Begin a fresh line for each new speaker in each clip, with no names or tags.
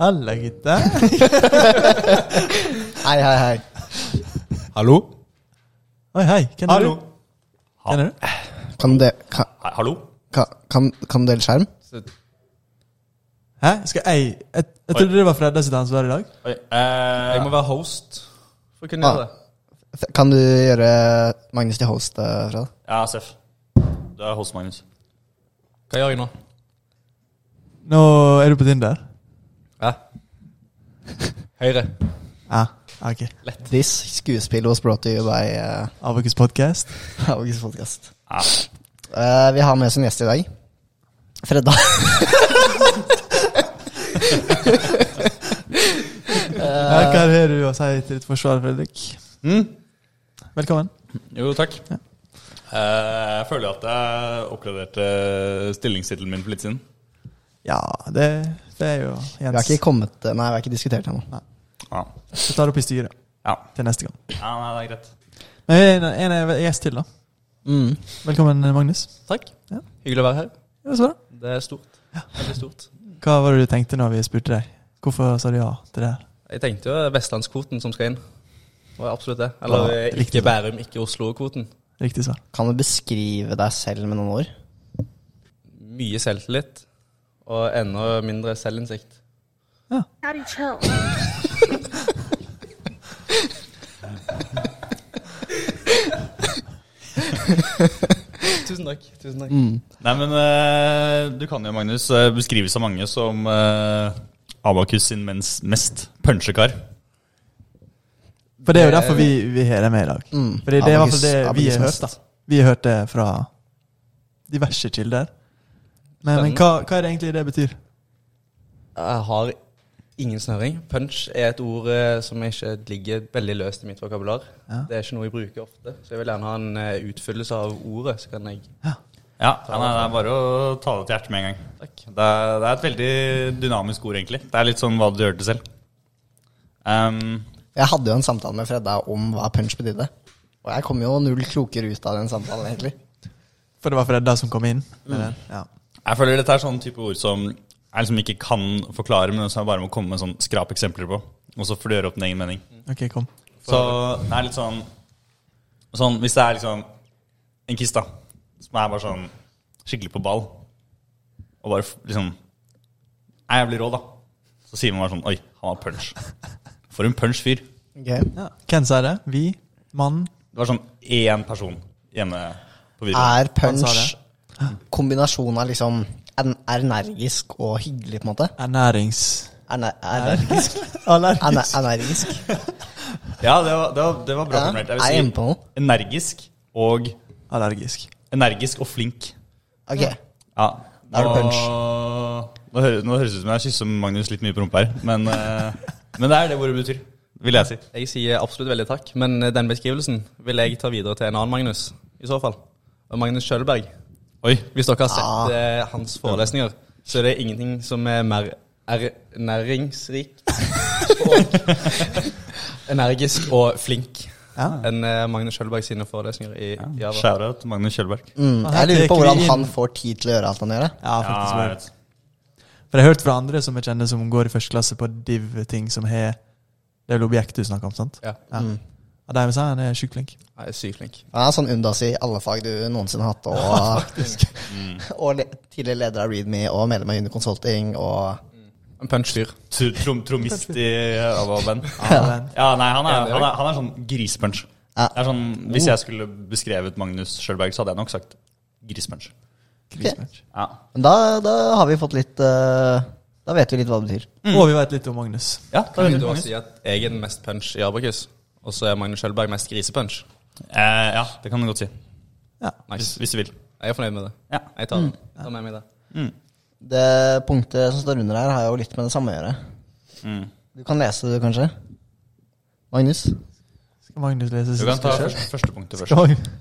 Halla, gutta.
Hei, hei, hei.
Hallo?
Oi, hei. Hvem er
Hallo?
du? Hvem er du?
Kan, de, kan,
Hei, Hallo?
kan, kan, kan dele skjerm?
Hæ? Skal jeg Jeg, jeg, trodde det var Fredda sitt ansvar i dag.
Oi, eh, jeg må være host.
For å kunne gjøre
Ah.
det.
Kan du gjøre Magnus til host, eh, Freda?
Ja, Seff. Du er host, Magnus.
Hva gjør jeg nå?
Nå er du på Tinder.
Hæ? Høyre.
Ja. Ah, Ok.
This skuespill was brought to you by eh,
Abokus podcast.
Hauges podcast.
Ja.
Eh, vi har med oss en gjest i dag. Fredda.
Ja, hva har du å si til ditt forsvar, Fredrik? Hmm? Velkommen.
Jo, takk. Eh, jeg føler at jeg oppgraderte stillingstittelen min for litt siden.
Ja, det, det er jo
Vi har
Jens.
ikke kommet eh, Nei, vi har ikke diskutert ennå.
Ja.
Vi tar det opp i styret
Ja,
til neste gang.
nei, det er greit.
Men vi er en, en gjest til, da. Hmm.
Mm.
Velkommen, Magnus.
Takk.
Ja.
Hyggelig å være her.
Ja, så bra.
Det er stort. Veldig stort.
Hva var det du tenkte når vi spurte deg? Hvorfor sa du ja til det her?
Jeg tenkte jo vestlandskvoten som skal inn. Det var absolutt det.
Ja,
Eller eh,
det likte
ikke
jeg.
Bærum, ikke Oslo-kvoten.
Riktig svar.
Kan du beskrive deg selv med noen ord?
Mye selvtillit og enda mindre selvinnsikt.
Daddy chill.
Tusen takk. Tusen takk.
Mm.
Nei, men eh, du kan jo, Magnus, eh, beskrives av mange som eh, Abakus sin mens, mest punchekar.
For det er jo derfor vi, vi har deg med i dag.
Mm.
Fordi det er i hvert fall
Abacus-
det vi har hørt.
abacusmest.
da Vi har hørt det fra diverse kilder. Men, men hva, hva er det egentlig det betyr?
Jeg har ingen snøring. Punch er et ord eh, som jeg ikke ligger veldig løst i mitt vokabular.
Ja.
Det er ikke noe jeg bruker ofte, så jeg vil gjerne ha en eh, utfyllelse av ordet. Så kan jeg
Ja, ja, nei, det er bare å ta det til hjertet med en gang.
Takk.
Det er, det er et veldig dynamisk ord, egentlig. Det er litt sånn hva du hørte selv. Ehm,
Jeg hadde jo en samtale med Fredda om hva punch betydde. Og jeg kom jo null klokere ut av den samtalen, egentlig.
For det var Fredda som kom inn. med den. Ja.
jeg føler dette er sånn type ord som jeg liksom ikke kan forklare, men som jeg bare må komme med sånn skrapeksempler på. Og så får du gjøre opp din egen mening.
Ok, kom.
Så det er litt sånn, sånn Hvis det er liksom en kiss, da, som er bare sånn skikkelig på ball, og bare f- liksom Er jævlig rå, da. Så sier man bare sånn Oi, han har punch. For en punch fyr.
Ok.
Ja. Hvem sa det? Vi? Mannen?
Det var sånn én person hjemme på videoen.
Er
Han
punch
sa
kombinasjonen av liksom en energisk og hyggelig, på en måte?
Ernærings...
Erne, energisk? Erne,
Allergisk.
energisk?
Ja, det var, det var, det var bra
Ja,
formulert.
jeg er
Jeg
inne
vil
på
si
noe.
energisk og
Allergisk.
energisk og flink.
Ok.
Ja.
Da er det punch.
Nå, høres, nå høres det ut som jeg kysser Magnus litt mye på rumpa her, men, eh, men det er det ordet betyr, vil jeg si.
Jeg sier absolutt veldig takk, men eh, den beskrivelsen vil jeg ta videre til en annen Magnus, i så fall. Og Magnus Kjølberg.
Oi.
Hvis dere har
Ah.
sett eh, hans forelesninger, så er det ingenting som er mer ernæringsrikt og energisk og flink
Ja.
enn eh, Magnus Kjølberg sine forelesninger i Java.
Shout-out Magnus Kjølberg.
Mm.
Og her
Jeg lurer på
peker vi
hvordan
inn-
han får tid til å gjøre alt han gjør. det.
Ja, faktisk.
Ja,
var
jeg
det.
vet.
For jeg har hørt fra andre som jeg kjenner som går i første klasse på div-ting som har Det er vel objekt du snakker om, sant?
Ja.
Ja. Og de sa han er sjukt flink.
Han er sykt flink.
Han er sånn undas i alle fag du noensinne har hatt. Og, og le, tidligere leder av Readme og medlem av Uni Consulting og
En punch-fyr.
Tr- Trom, tromist i ABBA-band.
Ja, men-
Ja, nei, han er, han er, han er sånn grispunch.
Ja. Oh.
Det er sånn, hvis jeg skulle beskrevet Magnus Kjølberg, så hadde jeg nok sagt grispunch.
Grismatch.
Ja.
Men da, da har vi fått litt eh, Da vet vi litt hva det betyr.
Mm.
Og vi veit litt om Magnus.
ja, da
Kan
vet
du
du Magnus.
også si at jeg er den mest punch i Abakus, og så er Magnus Kjølberg mest grisepunch?
Eh, ja, det kan du godt si.
Ja.
Hvis,
Nice.
hvis du vil.
Jeg er fornøyd med det.
Ja.
Jeg tar den. Ta med meg det.
Det punktet som står under her, har jo litt med det samme å gjøre.
Mm.
Du kan lese det, kanskje? Magnus?
Skal Magnus lese
Du
sin
kan ta
spørsmål?
første, første punktet først.
Skal Magnus-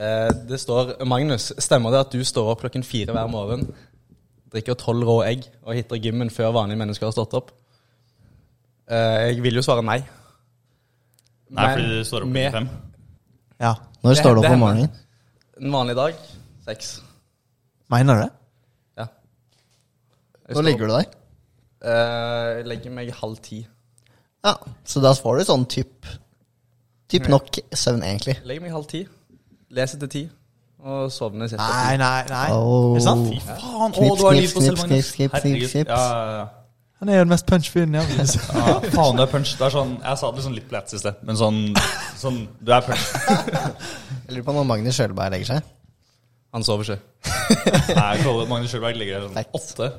Eh, det står Magnus, stemmer det at du står opp klokken fire hver morgen, drikker tolv rå egg og hitter gymmen før vanlige mennesker har stått opp? Eh, jeg vil jo svare nei.
Nei,
Men
fordi du står opp
med
klokken fem.
Ja.
Når
Det-
står du opp om
det hender.
morgenen?
En vanlig dag seks.
Mener du det?
Ja. Jeg
Når
står
legger du deg?
opp- Eh, jeg legger meg halv ti.
Ja, så da får du sånn typ Typ nok søvn, egentlig.
Jeg legger meg halv ti, leser til ti, og sovner sett
Nei, nei, nei.
Åh.
Er det sant?
Fy faen! Å,
Knips,
du har
knips,
liv på selv,
knips,
Magnus.
knips, knips,
Herregud.
knips.
Ja, ja, ja.
Han er jo den mest punch-fyren jeg har sett.
Ja, faen, du er punch. Det er sånn, jeg sa det sånn litt på lett i sted, men sånn, sånn Du er punch.
Jeg lurer på når Magnus Sjølberg legger seg.
Han sover ikke.
Nei, Kalle, Magnus Sjølberg ligger der sånn åtte,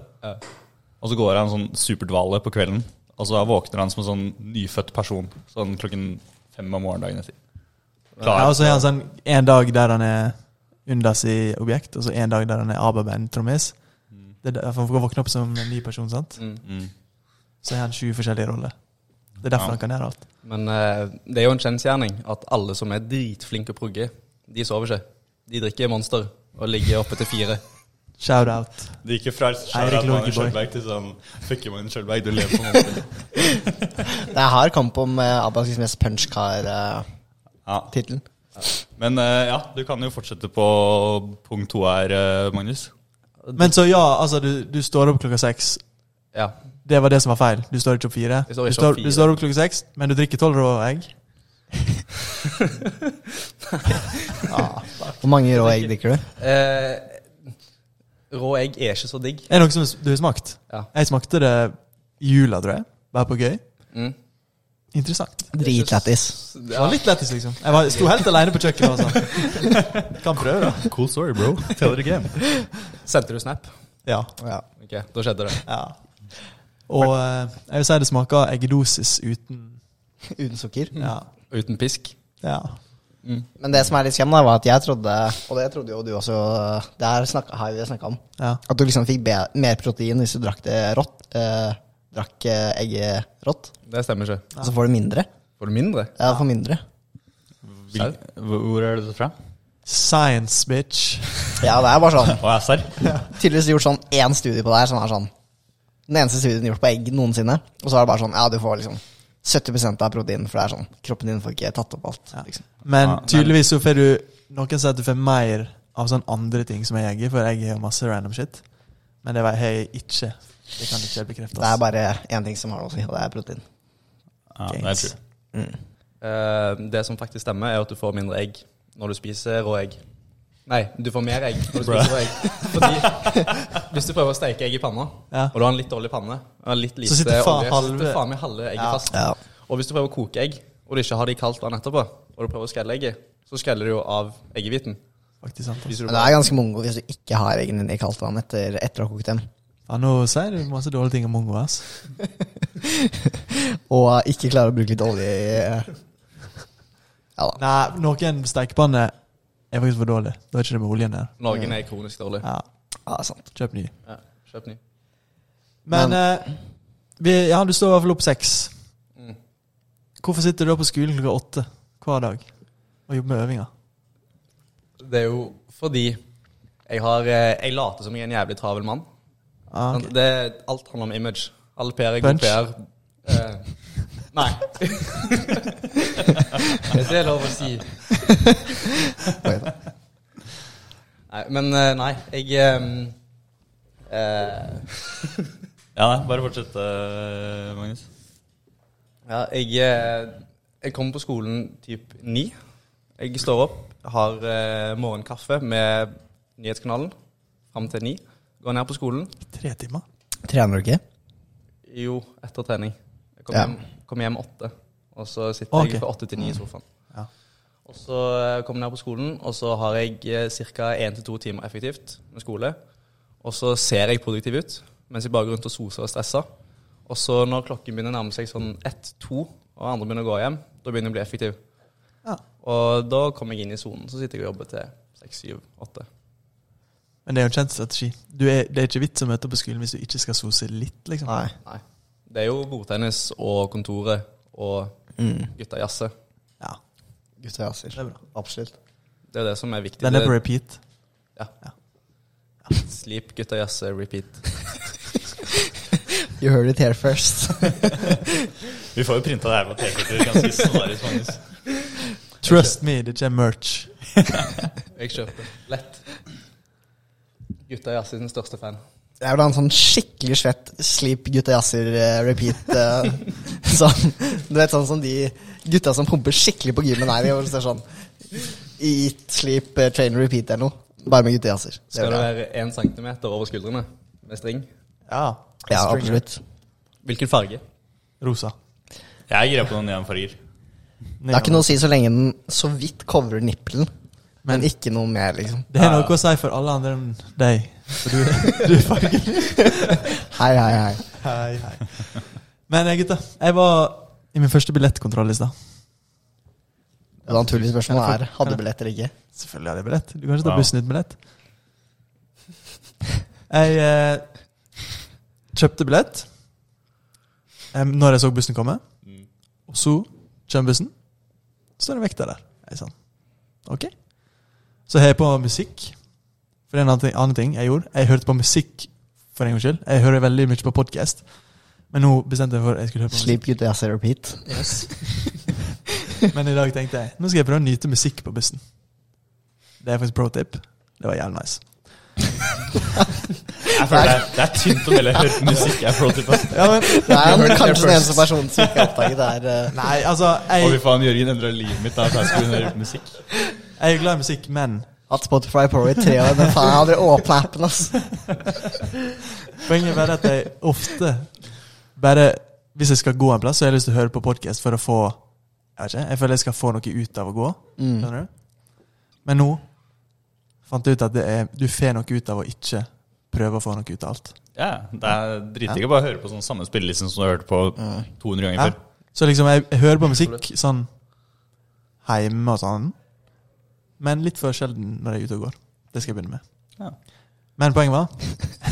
og så går han sånn superdvale på kvelden. Og så våkner han som en sånn nyfødt person sånn klokken fem om morgenen dagen etter.
Ja, og
Klar.
så har han sånn en dag der han er Undas i objekt, og så en dag der han er ABBA-band-trommis. Det er derfor Han får våkne opp som en ny person, sant?
Mm.
Så har han sju forskjellige roller. Det er derfor
Ja.
han kan gjøre alt.
Men eh, det er jo en kjensgjerning at alle som er dritflinke å progge, de sover ikke. De drikker Monster og ligger oppe til fire.
Shout-out.
Det gikk jo fra
Eirik
Sjølberg Magnus
Longyearbyen.
Sjølberg til sånn Fuck you, Magnus Sjølberg, du lever på måten.
Det er hard kamp om uh, Abbas mest punchkar-tittelen.
Ja. Men eh, ja, du kan jo fortsette på punkt to her, eh, Magnus.
Men så ja, altså, du, du står opp klokka seks.
Ja.
Det var det som var feil. Du står ikke opp fire.
Jeg står
du,
ikke
står,
opp fire.
du står opp klokka seks, men du drikker tolv rå egg.
Hvor mange rå egg drikker du?
Eh, rå egg er ikke så digg.
Er det noe som du har smakt?
Ja.
Jeg smakte det i jula, tror jeg. Bare på gøy.
Mm.
Interessant.
Dritlættis.
Det var litt lettis, liksom. Jeg var, sto helt alene på kjøkkenet. og sånn. Kan prøve, da.
Cool story, bro. Tell it again.
Sendte du snap?
Ja.
Ja.
Ok, da skjedde det.
ja. Og eh, jeg vil si det smaker eggedosis uten
Uten sukker.
Ja.
Uten pisk.
ja.
Men det som er litt skam, da, var at jeg trodde, og det trodde jo du også eh, Det her snakka- har vi snakka om.
ja.
At du liksom fikk be mer protein hvis du drakk det rått. eh, drakk eh, egget rått.
Det stemmer ikke.
Og så får du mindre.
Får du mindre?
Ja, du får mindre.
Hvil- Hvor er du fra?
Science, bitch.
Ja, det er bare sånn.
Å, jeg er serr?
Tydeligvis gjort sånn én studie på det her som er sånn Den eneste studien gjort på egg noensinne. Og så er det bare sånn Ja, du får liksom 70 av protein, for det er sånn kroppen din får ikke tatt opp alt. Liksom.
Men
Ja, men-
tydeligvis så får du Noen sier at du får mer av sånne andre ting som jeg eier, for jeg har masse random shit. Men det har jeg ikke. Det kan ikke bekreftes.
Det er bare én ting som har noe å si, og det er protein.
Ja, det er true.
Eh, det som faktisk stemmer, er at du får mindre egg når du spiser rå egg. Nei, du får mer egg når du spiser rå egg. Fordi hvis du prøver å steike egg i panna,
Ja.
og du har en litt dårlig panne, og litt lite
sitter faen
olje, så sitter
halve-
faen meg halve egget
Ja.
fast. Og hvis du prøver å koke egg, og du ikke har det i kaldt vann etterpå, og du prøver å skrelle egget, så skreller du jo av eggehviten.
Faktisk sant. altså.
Spiser du
Men det er ganske mongo hvis du ikke har eggene dine i kaldt vann etter, etter å ha kokt dem.
Ja, nå sier du masse dårlige ting om mongo, ass.
Og ikke klarer å bruke litt olje i eh. Ja da.
Nei, noen stekepanner er faktisk for dårlig. Da er ikke det med oljen der.
Norgen er kronisk dårlig.
Ja,
Ja, det er sant.
kjøp ny.
Ja. Kjøp ny.
Men, eh, vi, ja, du står i hvert fall opp seks. Hvorfor sitter du da på skolen klokka åtte hver dag og jobber med øvinger?
Det er jo fordi jeg har eh, Jeg later som jeg er en jævlig travel mann.
Ah, ok.
Sant? Det, alt handler om image. All PR er god
Punch.
PR. Eh, nei. Hvis det er lov å si. nei, men eh, nei, jeg eh, eh,
Ja, nei, bare fortsett, eh, Magnus.
Ja, jeg, eh, jeg kommer på skolen typ ni. Jeg står opp, har eh, morgenkaffe med nyhetskanalen fram til ni. Går ned på skolen.
Tre timer?
Trener du ikke?
Jo, etter trening. Jeg kom,
Ja.
hjem, kom hjem åtte, og så sitter
Ok. Mm.
jeg fra åtte til ni i sofaen.
Ja.
Og så eh, kommer jeg ned på skolen, og så har jeg ca. én til to timer effektivt med skole. Og så ser jeg produktiv ut, mens jeg bare går rundt og soser og stresser. Og så når klokken begynner å nærme seg sånn ett-to, og andre begynner å gå hjem, da begynner jeg å bli effektiv.
Ja.
Og da kommer jeg inn i sonen, så sitter jeg og jobber til seks, syv, åtte.
Men det er jo en kjent strategi. Du er, det er ikke vits å møte opp på skolen hvis du ikke skal sose litt, liksom.
Nei.
Nei. Det er jo bordtennis og kontoret og gutta jazze.
Ja,
Gutta
Mm.
jazzer.
det er bra.
Absolutt.
Det er jo det som er viktig.
Den er på
Det-
repeat.
Ja.
Ja.
Sleep, gutta jazze, repeat.
You heard it here first.
Vi får jo printa det her på T-skjorter ganske snarlig, Magnus.
Trust me, det kommer merch.
Jeg kjøper. Lett. Gutta jazze er sin største fan.
Det er vel en sånn skikkelig svett sleep gutta jazzer eh, repeat. eh, sånn, du vet sånn som de gutta som pumper skikkelig på gymmen er. Hvor det står sånn Eat, sleep, eh, train, repeat eller noe. Bare med gutta jazzer. Det
Skal
vil
det
jeg.
være én centimeter over skuldrene med string?
Ja.
Ja,
Stringer.
absolutt.
Hvilken farge?
Rosa.
Jeg er gira på noen neonfarger.
Det har ikke noe å si så lenge den så vidt covrer nippelen. Men
Men-
ikke noe mer, liksom.
Det er noe å si for alle andre enn deg. For du, du er fargelig.
Hei, hei, hei.
Hei, hei. Men eh, gutta, jeg var i min første billettkontroll i stad.
Det naturlige spørsmålet
Kan jeg
er hadde billett eller ikke.
Selvfølgelig hadde jeg billett. Du kan ikke ta
Wow.
bussen uten billett. Jeg eh, kjøpte billett eh, når jeg så bussen komme. Og så kommer bussen. Så står det en vekter der. Jeg sånn. Ok. Så hører jeg på musikk. For en annen ting, annen ting jeg gjorde Jeg hørte på musikk for en gangs skyld. Jeg hører veldig mye på podkast. Men nå bestemte jeg for at jeg skulle høre på musikk.
Sleep, gutta jazzer, repeat.
Men i dag tenkte jeg nå skal jeg prøve å nyte musikk på bussen. Det er faktisk pro tip. Det var jævlig nice.
Jeg føler det, er, det er tynt å melde hørt musikk. Jeg får til på.
Det er han kanskje den eneste personen som ikke har oppdaget det her. eh,
Nei, altså,
Å, fy
jeg,
faen, Jørgen endra livet mitt da jeg skulle høre på musikk.
jeg er glad i musikk, men
Hatt Spotify Pro i tre år, men faen, jeg hadde åpna appen, ass.
poenget er bare at jeg ofte bare Hvis jeg skal gå en plass, så har jeg lyst til å høre på podkast for å få Jeg vet ikke, jeg føler jeg skal få noe ut av å gå. Skjønner du? Men nå fant jeg ut at det er, du får noe ut av å ikke prøve å få noe ut av alt.
Ja, Det er dritdigg å bare høre på sånn samme spillelisten som du har hørt på 200 ganger
Ja.
før.
Så liksom, jeg, jeg hører på musikk sånn hjemme og sånn, men litt for sjelden når jeg er ute og går. Det skal jeg begynne med.
Ja.
Men poenget var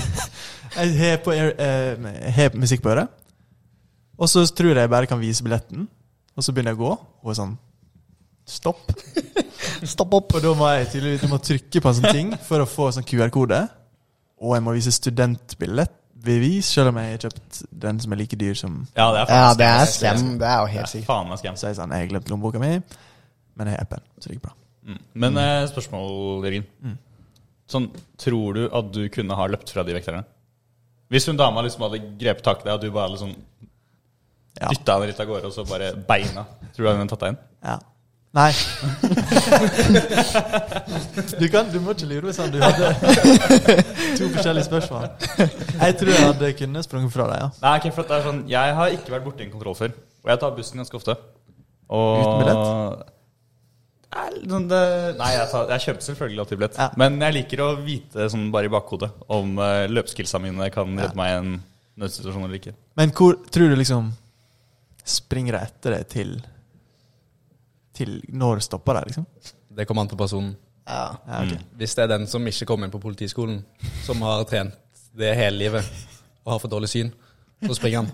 Jeg har på air- eh, jeg har musikk på øret, og så tror jeg jeg bare kan vise billetten, og så begynner jeg å gå, og sånn Stopp.
Stopp opp.
Og da må jeg tydeligvis jeg må trykke på en sånn ting for å få sånn QR-kode. Og jeg må vise studentbillettbevis, selv om jeg har kjøpt den som er like dyr som
Ja, det er
Ja,
faen
det
meg
er
scam.
slem. Det er jo
Det
helt
er
sykt.
faen meg scam.
Så jeg sa jeg har glemt lommeboka mi, men jeg har appen. Så det gikk bra.
Mm. Men eh, spørsmål, Jørgen. Sånn, tror du at du kunne ha løpt fra de vekterne? Hvis hun dama liksom hadde grepet tak i deg, og du bare liksom
Ja.
dytta henne litt av gårde, og så bare beina Tror du hun hadde tatt deg inn?
ja. Nei. du, kan, du må ikke lure meg sånn. Du hadde to forskjellige spørsmål. Jeg tror jeg hadde kunnet sprunget fra deg, ja.
Nei, ok, for at det er sånn Jeg har ikke vært borti en kontroll før. Og jeg tar bussen ganske ofte. Og
Uten billett?
Nei, sånn det, nei jeg, tar, jeg kjøper selvfølgelig alltid billett.
Ja.
Men jeg liker å vite sånn bare i bakhodet om uh, løpeskillsa mine kan redde meg i en nødsituasjon eller ikke.
Men hvor tror du liksom Springer jeg etter det til Til når stopper det, liksom?
Det kommer an på personen.
Ja.
Ja, ok.
Hvis det er den som ikke kom inn på politiskolen, som har trent det hele livet og har for dårlig syn, så springer han.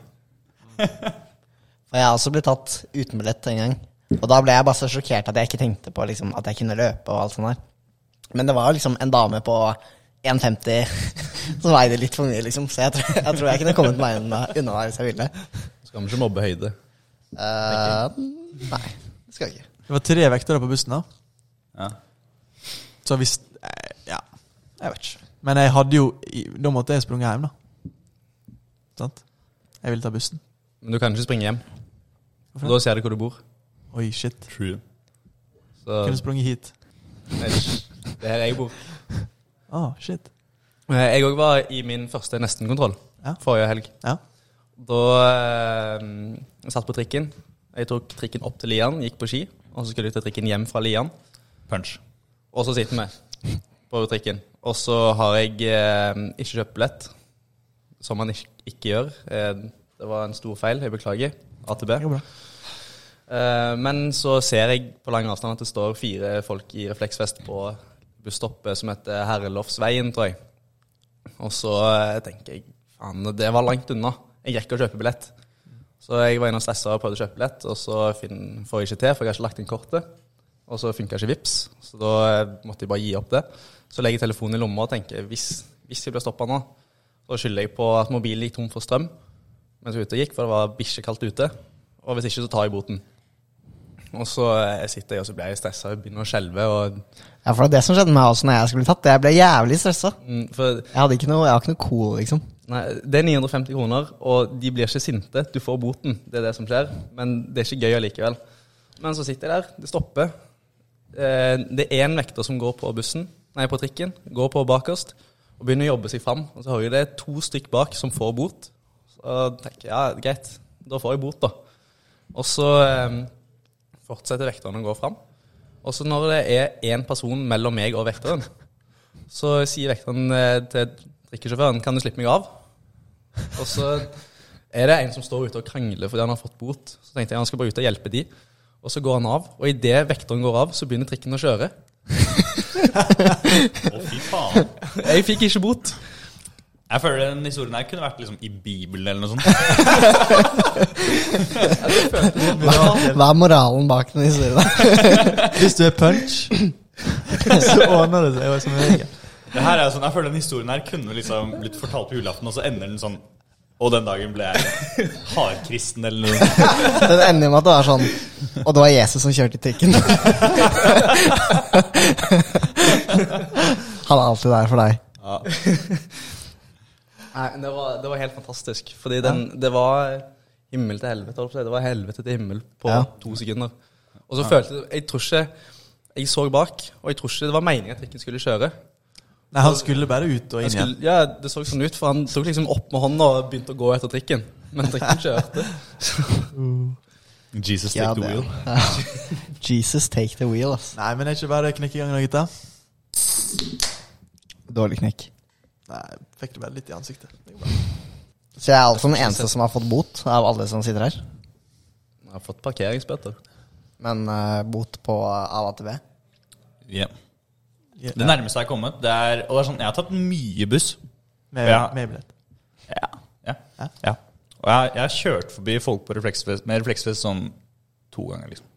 Og jeg har også blitt tatt uten billett en gang. Og da ble jeg bare så sjokkert at jeg ikke tenkte på liksom, at jeg kunne løpe og alt sånt der. Men det var liksom en dame på 1,50 som veide litt for mye, liksom. Så jeg tror jeg, tror jeg kunne kommet meg unna, unna der hvis jeg ville.
Skal man ikke mobbe høyde?
Eh, nei, det skal jeg ikke.
Det var tre vektere på bussen, da.
Ja.
Så hvis eh, Ja, jeg vet ikke. Men jeg hadde jo i- Da måtte jeg sprunget hjem, da. Sant? Jeg ville ta bussen.
Men du kan ikke springe hjem.
Hvorfor
For da ser de hvor du bor.
Oi, shit.
True.
Så
Kunne sprunget hit.
Nei, det er her jeg bor.
Å, Ah, shit.
Eh, Jeg òg var i min første nestenkontroll
Ja.
forrige helg.
Ja.
Da eh, jeg satt på trikken. Jeg tok trikken opp til Lian, gikk på ski, og så skulle jeg ta trikken hjem fra Lian.
Punch.
Og så sitter vi på trikken. Og så har jeg eh, ikke kjøpt billett, som man ikke, ikke gjør. Eh, det var en stor feil. Jeg beklager. AtB.
Det går bra.
Eh, men så ser jeg på lang avstand at det står fire folk i refleksvest på busstoppet som heter Herrelofsveien, tror jeg. Og så eh, tenker jeg faen, det var langt unna. Jeg rekker å kjøpe billett. Så jeg var inne og stressa og prøvde å kjøpe billett, og så finn, får jeg ikke til, for jeg har ikke lagt inn kortet. Og så funka ikke Vipps, så da eh, måtte jeg bare gi opp det. Så legger jeg telefonen i lomma og tenker hvis, hvis jeg blir stoppa nå, så skylder jeg på at mobilen gikk tom for strøm mens jeg var ute og gikk, for det var bikkjekaldt ute. Og hvis ikke, så tar jeg boten. Og så eh, sitter jeg og så blir jeg stressa og begynner å skjelve. Og,
Ja, for det er det som skjedde med meg også når jeg skulle bli tatt. Jeg ble jævlig stressa.
mm, for
Jeg hadde ikke noe, jeg har ikke noe cool, liksom.
nei, det er 950 kroner, og de blir ikke sinte. Du får boten, det er det som skjer. Men det er ikke gøy allikevel. Men så sitter jeg der, det stopper. Eh, Det er en vekter som går på bussen, nei, på trikken, går på bakerst og begynner å jobbe seg fram. Og så hører jeg det er to stykk bak som får bot. Så tenker jeg ja, greit, da får jeg bot, da. Og så eh, fortsetter vekterne å gå fram. Og så når det er én person mellom meg og vekteren, så sier vekteren eh, til trikkesjåføren kan du slippe meg av. Og så er det en som står ute og krangler fordi han har fått bot. Så tenkte jeg han skal bare ut og hjelpe de. Og så går han av, og idet vekteren går av, så begynner trikken å kjøre.
Å, fy faen.
Jeg fikk ikke bot.
Jeg føler den historien her kunne vært liksom i Bibelen eller noe sånt.
Hva, hva er moralen bak den historien? der?
Hvis du er punch, så ordner det seg. jo som regel.
Det her er jo sånn, Jeg føler den historien her kunne liksom blitt fortalt på julaften, og så ender den sånn Og den dagen ble jeg hardkristen eller noe.
Den ender jo med at det var sånn Og det var Jesus som kjørte i trikken. Han er alltid der for deg.
Ja.
Nei, det var, det var helt fantastisk. Fordi den, det var himmel til helvete. holdt jeg på å si. Det var helvete til himmel på
Ja.
to sekunder. Og så følte jeg Jeg tror ikke Jeg så bak, og jeg tror ikke det var meningen at trikken skulle kjøre.
Nei, han skulle bare ut og
Jeg
inn igjen.
skulle, ja, Det så sånn ut, for han tok liksom opp med hånda og begynte å gå etter trikken. Men trikken kjørte.
Jesus take
Ja,
the
det-
wheel.
Jesus take the wheel, ass.
Nei, men er ikke bare knekke i gangen, da, gutta?
Dårlig knekk.
Nei, fikk det bare litt i ansiktet. Det går bra.
Så jeg er altså den eneste som har fått bot av alle som sitter her.
Jeg har fått parkeringsbøter.
Men eh, bot på av AtB.
Ja.
Ja.
Det nærmeste jeg har kommet, det er Og det er sånn, jeg har tatt mye buss.
Med,
Ja.
med billett.
Ja. ja. ja. Og jeg, jeg har kjørt forbi folk på refleksvest, med refleksvest sånn to ganger, liksom.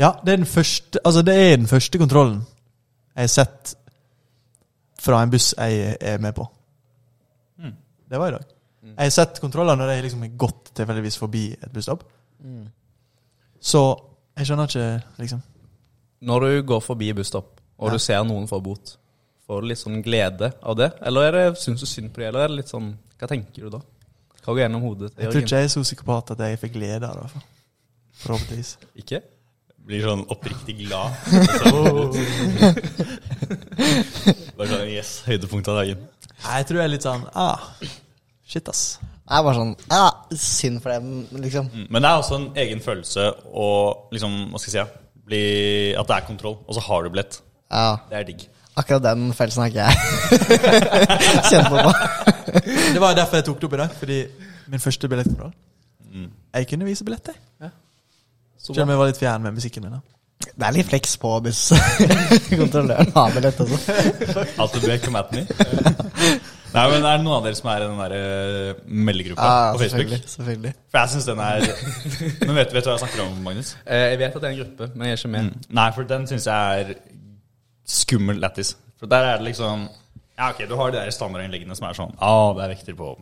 Ja, det er den første Altså, det er den første kontrollen jeg har sett fra en buss jeg er med på. Det var i dag. Jeg har sett kontroller når jeg liksom har gått tilfeldigvis forbi et busstopp. Hmm. Så jeg skjønner ikke, liksom.
Når du går forbi busstopp, og du ser noen få bot, får du litt sånn glede av det? Eller er det, syns du synd på dem, eller er det litt sånn Hva tenker du da? Hva går gjennom hodet til
Jeg tror
Jørgen?
ikke jeg er så psykopat at jeg fikk glede av det. i hvert fall. Forhåpentligvis.
Ikke?
Blir sånn oppriktig glad. Og så- Bare sånn Yes, høydepunkt av dagen.
Nei, jeg tror jeg er litt sånn ah, Shit, ass.
Det er bare sånn ja, Synd for dem, liksom.
Mm, Men det er også en egen følelse å liksom, hva skal jeg si, ja, bli, at det er kontroll, og så har du billett.
Ja,
Det er digg.
Akkurat den følelsen har ikke jeg kjent på.
Det var derfor jeg tok det opp i dag. Fordi min første billettkontroll Jeg kunne vise billett, jeg.
Så
Selv om jeg var litt fjern med musikken min. da
Det er litt fleks på buss. Kontrolløren har vel dette også.
At du ble come at me. Nei, men er det noen av dere som er i den der eh, meldegruppa
Ja,
på
selvfølgelig.
Facebook?
selvfølgelig.
For jeg syns den er Men vet, vet du hva jeg snakker om, Magnus?
Eh, jeg vet at det er en gruppe, men jeg er ikke
Mm.
med.
Nei, for den syns jeg er skummel lættis. For der er det liksom Ja, ok, du har de der standardinnleggene som er sånn Å, det er vekter på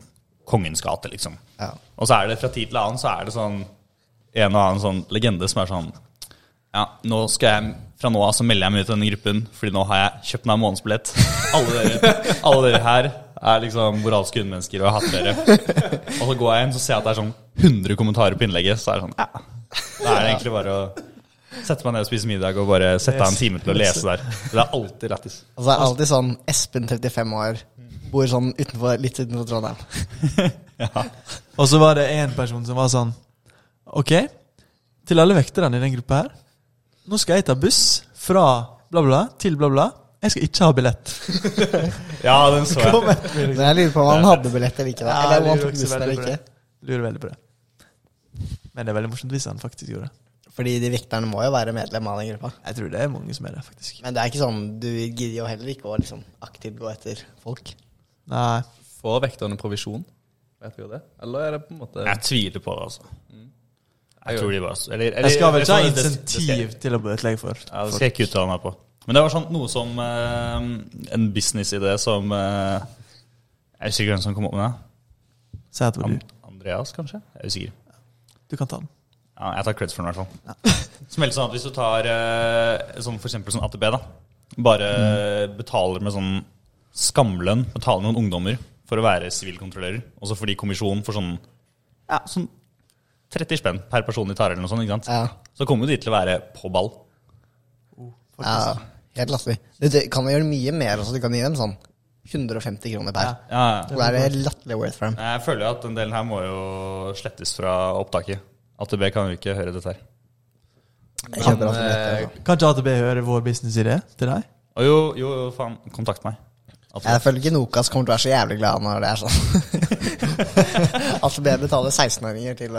Kongens gate, liksom.
Ja.
Og så er det fra tid til annen så er det sånn en og annen sånn legende som er sånn Ja, nå skal jeg fra nå av så melder jeg meg ut av denne gruppen, fordi nå har jeg kjøpt meg en månedsbillett. Alle dere, alle dere her er liksom moralske hundemennesker, og jeg hater dere. Og så går jeg inn, så ser jeg at det er sånn 100 kommentarer på innlegget, så er det sånn Ja. Da er det egentlig bare å sette meg ned og spise middag og bare sette av en time til å lese der. Det er alltid lættis.
Og så er det alltid sånn Espen 35 år, bor sånn utenfor, litt utenfor Trondheim.
Og så var det en person som var sånn Ok, til alle vekterne i den gruppa her Nå skal jeg ta buss fra bla bla til bla bla Jeg skal ikke ha billett
Ja, den så jeg.
Men jeg lurer på om han hadde billett eller ikke. Da.
Ja,
Eller om han
lurer
tok
også
bussen
veldig
eller
på
ikke.
det. Lurer veldig på det Men det er veldig morsomt hvis han faktisk gjorde det
Fordi de vekterne må jo være medlem av den gruppa.
Jeg tror det er mange som er det faktisk
Men det er ikke sånn, du gidder jo heller ikke å liksom aktivt gå etter folk.
Nei,
Får vekterne provisjon? Vet vi jo det? Eller er det på en måte
Jeg tviler på det, altså. Jeg tror de bare eller, eller-
jeg skal vel ikke
vet du
ha
hva, det- det- det skal jeg-
insentiv til å bøtlegge for
Ja, det skal jeg ikke uttale meg på. Men det var sånn noe som eh, en businessidé som eh, Jeg er usikker hvem som kom opp med det.
Si at det var
An
du,
Andreas, kanskje? Jeg er usikker.
du kan ta den
Ja, jeg tar creds for den, i hvert fall. Som helst sånn at hvis du tar eh, sånn for eksempel sånn AtB, da. Bare betaler med sånn skamlønn, betaler noen ungdommer for å være sivilkontrollører. Og så får de kommisjon for sånn, ja, sånn 30 spenn per person de tar, eller noe sånt. ikke sant?
Ja.
Så kommer jo de til å være på ball. Oh,
ja
altså.
helt latterlig. Du, du kan jo gjøre mye mer også. Du kan gi dem sånn 150 kroner per.
Ja, ja.
Og da er det latterlig worth for dem.
Jeg føler jo at den delen her må jo slettes fra opptaket. AtB kan jo ikke høre dette her.
Jeg kjøper altså
eh,
dette. altså.
Kanskje AtB hører vår businessidé til deg?
Å jo, jo, jo, faen. Kontakt meg. AtB.
Jeg føler ikke Nokas kommer til å være så jævlig glad når det er sånn. At det betaler 16-åringer til å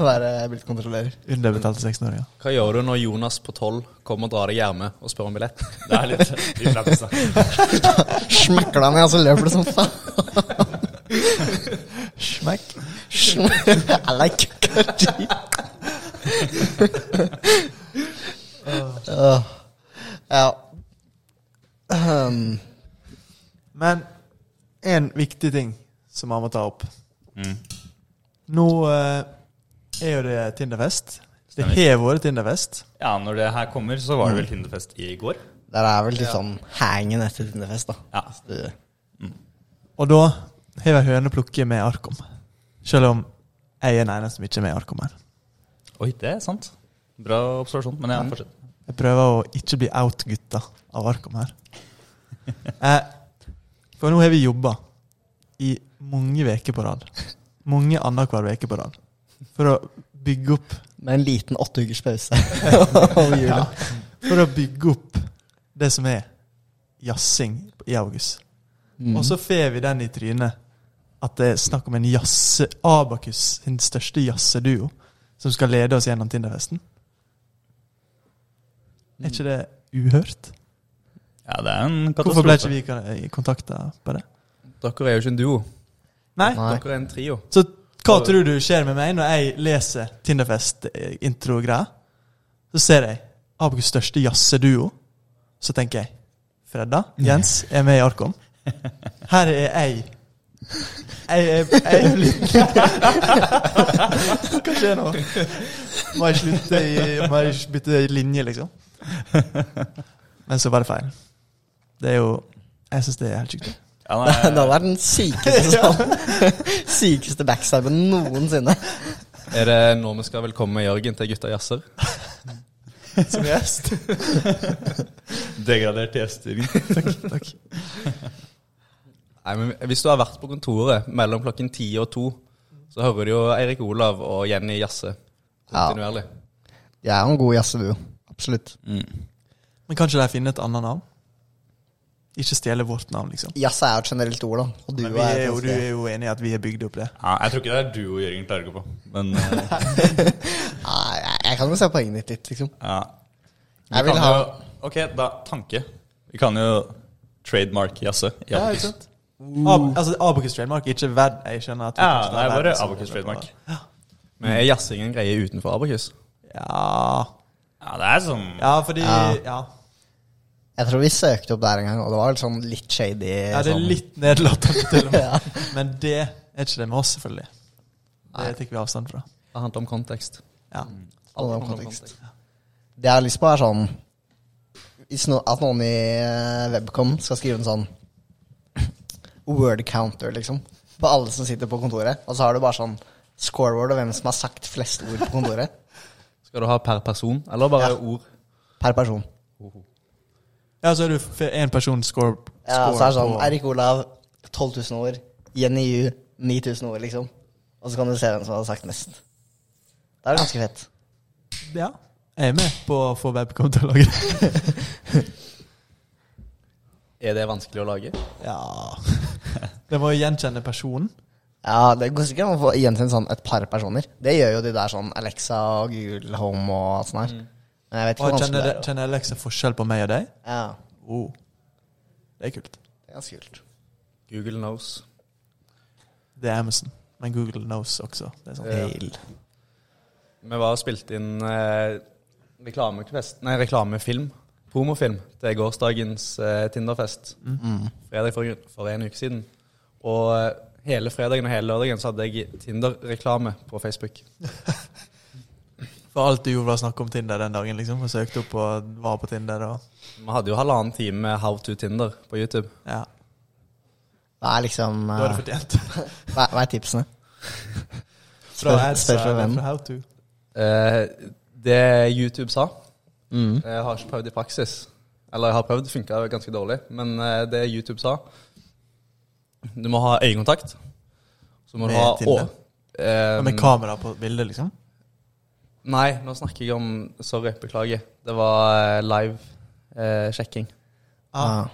være bilkontrollører.
Underbetalte 16-åringer.
Hva gjør du når Jonas på 12 kommer og drar deg i ermet og spør om billett?
Det er litt, litt lættis, da.
Smekker du ham i, og så løper du som faen.
Smekk.
I like curry. Åh. Ja. Um,
Men en viktig ting som man må ta opp.
Mm.
Nå eh, er jo det Tinderfest. Det har vært Tinderfest.
Ja, når det her kommer, så var det vel Tinderfest i går.
der er vel litt sånn hangen etter Tinderfest, da.
Ja.
Hvis du-
Og da har jeg høne å plukke med Arkom. Selv om jeg er den eneste som ikke er med i Arkom her.
Oi, det er sant. Bra observasjon, men ja, fortsett.
Jeg prøver å ikke bli out-gutta av Arkom her. Eh, for nå har vi jobba i mange uker på rad. Mange annenhver uke på rad. For å bygge opp
Med en liten åtte ukers pause over jula.
For å bygge opp det som er jazzing i august.
Mm.
Og så får vi den i trynet at det er snakk om en jazze Abakus, sin største jazzeduo, som skal lede oss gjennom Tinderfesten. Er ikke det uhørt?
Ja, det er en katastrofe.
Hvorfor ble ikke vi kontakta på det?
Dere er jo ikke en duo.
Nei.
Nei.
Dere er en trio.
Så hva tror du skjer med meg når jeg leser Tinderfest-intro-greia? Så ser jeg Abakus største jazzeduo. Så tenker jeg Fredda, Jens, er med i Arkom. Her er jeg. Jeg er, jeg er blitt Hva skjer nå? Må jeg slutte i Må jeg bytte linje, liksom? Men så var det feil. Det er jo Jeg syns det er helt sjukt.
Ja,
Det
nei,
hadde vært den sykeste sånn Sykeste backstabben noensinne.
Er det nå vi skal velkomme Jørgen til Gutta jazzer?
Som gjest.
degradert gjester.
Takk. takk.
Nei, men Hvis du har vært på kontoret mellom klokken 10 og 2, så hører du jo Eirik Olav og Jenny jazze
Ja.
kontinuerlig.
Jeg er jo en god jazzeduo. Absolutt.
Mm.
Men kanskje de finner et annet navn? Ikke stjele vårt navn, liksom.
Jazz er jo et generelt ord, da. Og
Men
duo
vi
er
er
et
jo, du
ganske-
er jo enig i at vi har bygd opp det.
Ja, jeg tror ikke det er du og Jørgen klarer å gå på, men eh,
Nei, jeg- jeg kan jo se poenget ditt litt, liksom.
ja. Vi
Jeg vil
kan
ha
jo- Ok, da tanke. Vi kan jo trademark jazze. i Abacus.
Ab altså, Abacus trademark er ikke verd. Jeg skjønner at vi
Ja,
kanskje
det er
verden
bare
som-
Abacus trademark.
Men er jazzing en greie utenfor Abakus?
Ja
Ja, det er sånn
Ja, fordi Ja,
Jeg tror vi søkte opp der en gang, og det var vel sånn litt shady.
ja det er
sånn.
litt nedlatende, til og med. Men det er ikke det med oss, selvfølgelig. Det tar vi avstand fra.
Det handler om kontekst.
Ja.
handler om kontekst. Det jeg har lyst på, er sånn hvis no, At noen i eh, Webcom skal skrive en sånn word counter, liksom. På alle som sitter på kontoret. Og så har du bare sånn scoreboard og hvem som har sagt flest ord på kontoret.
Skal du ha per person, eller bare
Ja.
ord?
Per person.
ja, så er du f- en person score,
Ja, så er det sånn
på-
Erik Olav 12 000 ord. Jenny Yu 9000 ord, liksom. Og så kan du se hvem som har sagt mest. Det er jo ganske fett.
Ja. Jeg er med på å få webcom til å lage det.
Er det vanskelig å lage?
Ja Det må jo gjenkjenne personen.
Ja, det går sikkert an å få gjenkjent sånn et par personer. Det gjør jo de der sånn Alexa og Google Home og alt sånt her. Men jeg vet ikke
Og
hvor vanskelig
kjenner,
det er.
kjenner Alexa forskjell på meg og deg?
å- Ja,
Oh. Det er kult.
det er ganske kult.
Google knows.
Det er Amazon. Men Google knows også. Det er sånn.
Ja. Vi var og spilte inn eh, reklamefest, nei, reklamefilm, promofilm, til gårsdagens eh, Tinderfest.
Mm.
Fredag for, for en uke siden. Og eh, hele fredagen og hele lørdagen så hadde jeg Tinder-reklame på Facebook.
For alt du gjorde, var å snakke om Tinder den dagen, liksom. Og søkte opp og var på Tinder og
Vi hadde jo halvannen time med How to Tinder på YouTube.
Ja.
Hva er liksom
Du
eh,
hadde fortjent.
hva, hva er tipsene?
Fra
Spør-
ads
spør fra
og
vennen.
fra how to.
Eh, det YouTube sa
Mm.
Jeg har ikke prøvd i praksis. Eller jeg har prøvd, det funka ganske dårlig. Men eh, det YouTube sa Du må ha øyekontakt. Så må du
Med
ha
Tinder?
å- eh,
Med kamera på bildet, liksom.
Nei, nå snakker jeg om Sorry, beklager. Det var eh, live eh, sjekking.
Ah.
Ah.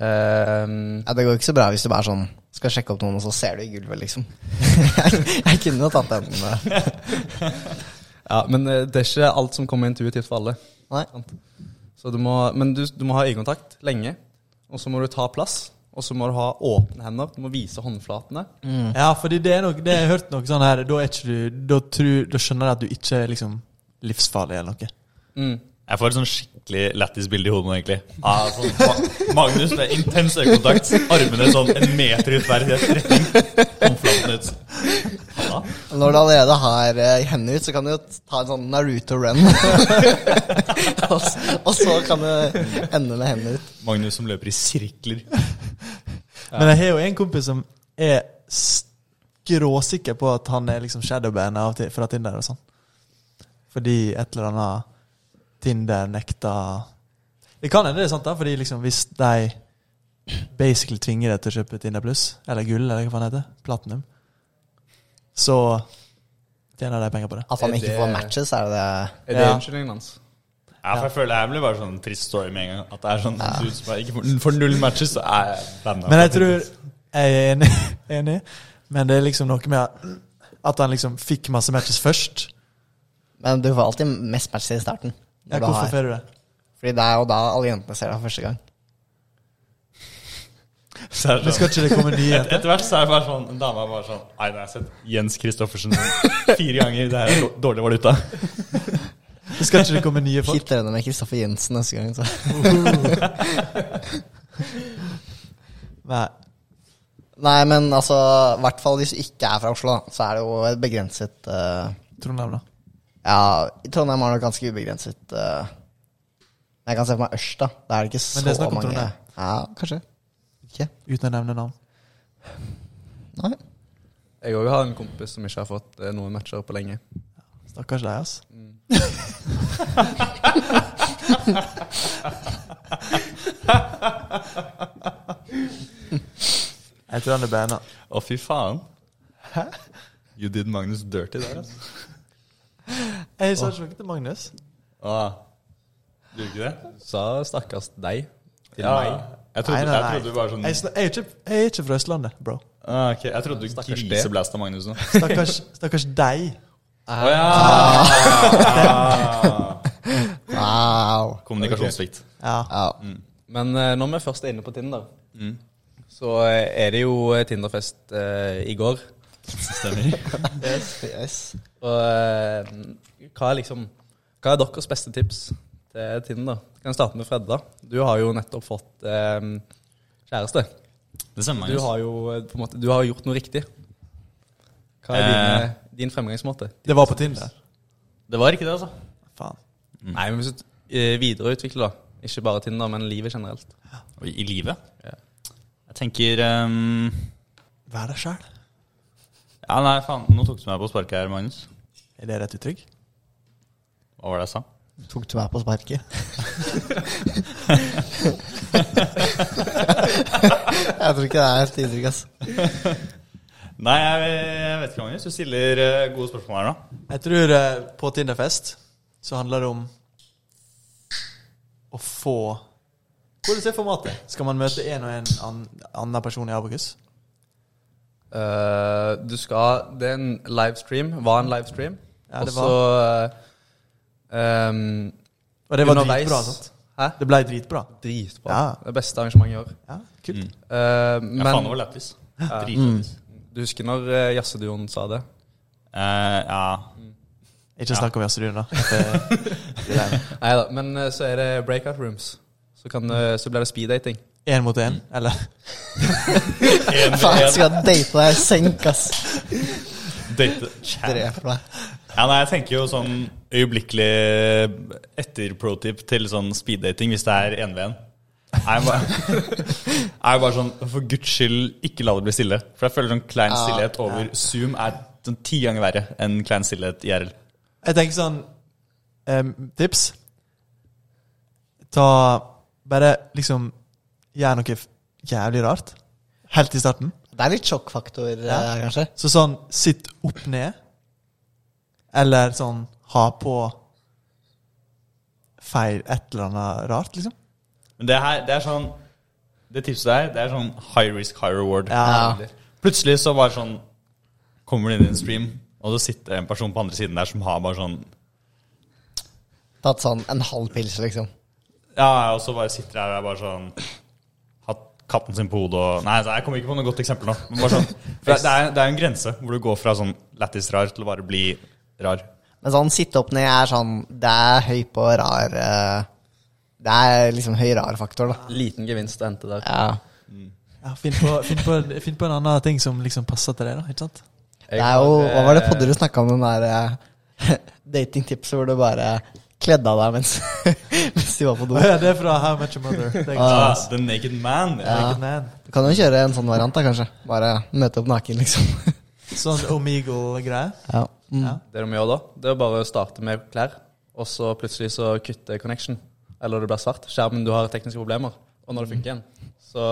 Eh,
Ja, det går ikke så bra hvis du bare er sånn skal sjekke opp noen, og så ser du i gulvet, liksom. jeg kunne jo tatt den. eh.
ja, men eh, det er ikke alt som kommer intuitivt for alle.
Nei.
Sant? Så du må, men du, du må ha øyekontakt lenge, og så må du ta plass. Og så må du ha åpne hender. Du må vise håndflatene.
Ja, fordi det er nok Det jeg har hørt noe sånn her Da er ikke du Da, tror, da skjønner jeg at du ikke er liksom livsfarlig eller noe.
Mm.
Jeg får et sånn skikkelig lættis bilde i hodet nå, egentlig. Av sånn, Ma- Magnus med intens øyekontakt, armene sånn en meter ut hver i rett retning. Håndflaten ut. Halla.
Og Når du allerede har eh, hendene ut, så kan du jo ta en sånn Naruto-run. og, s- og så kan du ende med hendene ut.
Magnus som løper i sirkler.
Men jeg har jo en kompis som er skråsikker på at han er liksom shadowband av Ti- fra Tinder og sånn. Fordi et eller annet Tinder nekta Det kan hende det er sant, da, fordi liksom hvis de basically tvinger deg til å kjøpe Tinder pluss, eller gull, eller hva faen det heter, platinum, så tjener de penger på det.
At han
Er
ikke
det-
får matches, er det det?
Er det
Ja.
unnskyldningen hans?
Ja, for jeg føler jeg blir bare sånn trist story med en gang. At det er sånn du som er ikke får- får null matches, så er jeg banna.
Men eh, jeg tror Jeg er enig, enig. Men det er liksom noe med at han liksom fikk masse matches først.
Men du får alltid mest matches i starten.
Ja,
når du
hvorfor
har-
får du det?
Fordi det er jo da alle jentene ser deg for første gang.
Så er det
Men skal
sånn.
ikke det komme nye
Et,
jenter?
etter hvert så er det bare sånn en dame er bare sånn Nei, nå har jeg sett Jens Christoffersen fire ganger. Det her er dår- dårlig valuta.
Skal ikke det komme nye folk?
Hit dørene med Kristoffer Jensen neste gang. Så.
Nei.
Nei, men altså, i hvert fall hvis du ikke er fra Oslo, da, så er det jo et begrenset eh,
Trondheim, da.
Ja, i Trondheim har nok ganske ubegrenset eh, men Jeg kan se for meg Ørsta. Da er det ikke så
Men det er snakk om
mange
Trondheim.
Ja, kanskje. Ikke?
Uten å nevne navn.
Nei.
Jeg òg har en kompis som ikke har fått eh, noen matcher på lenge.
Stakkars deg, ass.
Mm.
Jeg tror han er bena.
Å, fy faen. You did Magnus dirty der, altså.
Jeg sa ikke noe til Magnus.
Ah. Gjorde ikke det?
Sa stakkars deg til
Ja.
meg.
Jeg trodde,
Nei, nei, nei.
Jeg trodde du var sånn
Jeg, sn- jeg, er ikke, jeg er ikke fra Østlandet, bro.
ah, ok, Jeg trodde du
Stakkars det.
griseblasta Magnus nå.
Stakkars, stakkars deg. Ah.
Å ja!
Wow.
Kommunikasjonssvikt.
Ja.
Ja.
Men eh, når vi først er inne på Tinder, så eh, er det jo eh, Tinderfest eh, i går.
Stemmer.
Yes.
Og eh, hva er liksom Hva er deres beste tips til Tinder? Kan jeg starte med Fredda? Du har jo nettopp fått eh, kjæreste.
Det stemmer,
Du
Magnus.
har jo eh, på en måte, du har gjort noe riktig. Hva er din, eh, din fremgangsmåte?
Det var på Tinder.
Det var ikke det, altså.
Faen.
Nei, men hvis du eh, videreutvikler, da. Ikke bare Tinder, men livet generelt.
Og I livet?
Ja.
Jeg tenker ehm,
Vær deg sjæl.
Ja, nei, faen. Nå tok du meg på sparket her, Magnus.
Er det rett uttrykk?
Hva var det jeg sa?
Tok du meg på sparket? jeg tror ikke det er et inntrykk, ass.
Nei, jeg, jeg vet ikke, Magnus. Du stiller eh, gode spørsmål her nå.
Jeg tror eh, på Tinderfest så handler det om å få Hvordan er formatet? Skal man møte en og en an, annen person i Abokus?
Eh, du skal Det er en livestream. Var en livestream.
Ja, det
Og så eh, um,
Og det var
underveis-
dritbra, sant?
Hæ?
Det ble dritbra.
Dritbra.
Ja.
Det beste arrangementet i år.
Ja, kult.
Eh,
Ja, faen, det
men
var lættis. Dritlættis.
du husker når eh, jazzeduoen sa det?
Eh, ja.
Ikke snakk om jazzruen, da. Det-
Nei da. Men eh, så er det breakout rooms. Så, kan, eh, så blir det speeddating.
Én mot én, eller?
En,
Faen, jeg
en,
skal date deg i senk, ass.
date,
Dreper deg.
Ja, nei, jeg tenker jo sånn øyeblikkelig etter pro-tip til sånn speeddating hvis det er 1v1. Er jo bare, er jo bare sånn For guds skyld, ikke la det bli stille. For jeg føler sånn klein stillhet over Zoom er sånn ti ganger verre enn klein stillhet IRL.
Jeg tenker sånn em, Tips Ta Bare liksom Gjør noe f- jævlig rart Helt i starten
Det er litt sjokkfaktor eh, her, kanskje.
Så sånn Sitt opp ned Eller sånn Ha på Feil et eller annet rart liksom
Men det her, det er sånn Det tipset der, det er sånn high risk, high reward.
Ja.
Plutselig så bare sånn Kommer du inn i en stream, og så sitter en person på andre siden der som har bare sånn
Tatt sånn en halv pils, liksom.
Ja, og så bare sitter jeg der bare sånn Hatt katten sin på hodet og Nei, altså, jeg kommer ikke på noe godt eksempel nå. Men bare sånn, for det, er, det er en grense hvor du går fra sånn lættis rar til å bare bli rar.
Men sånn sitte opp ned er sånn Det er høy på rar eh, Det er liksom høy rar faktor, da.
Liten gevinst å hente der.
Ja.
ja, finn, på, finn, på, finn på en annen ting Som liksom passer til deg da Ikke sant?
Det er jo Hva
eh,
var det podder du snakka om, den der eh, datingtipset hvor du bare kledde av deg mens, mens du var på do?
Åja, det er fra How Much a Mother Det er
Ah,
ganske
the naked man. Ja.
Naked Man
Du kan jo kjøre en sånn variant, da, kanskje. Bare møte opp naken, liksom.
Sånn Omegle-greie
Ja. Mm.
Ja.
Det de gjør da, det er bare å starte med klær, og så plutselig så kutter connection. Eller det blir svart. Skjermen, du har tekniske problemer. Og når det funker igjen, så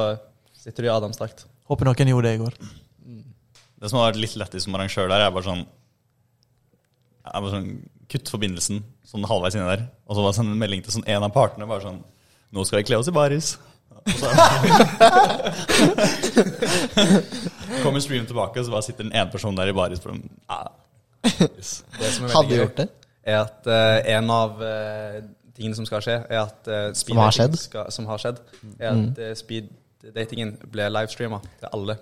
sitter du i adamsdrakt.
Håper noen gjorde det i går
Det som har vært litt lættis som arrangør der, er bare sånn er bare sånn Kutt forbindelsen sånn halvveis inni der. Og så bare sende en melding til sånn en av partene bare sånn Nå skal vi kle oss i baris. Og så kommer streamen tilbake, og så bare sitter den ene personen der i baris. For den, ah,
Det som er veldig
Hadde
gøy,
gjort det.
er at eh, en av eh, tingene som skal skje, er at eh, speed
har
dating
skjedd? Mm.
Skal, som har skjedd, er at eh, speed-datingen blir livestreama til alle.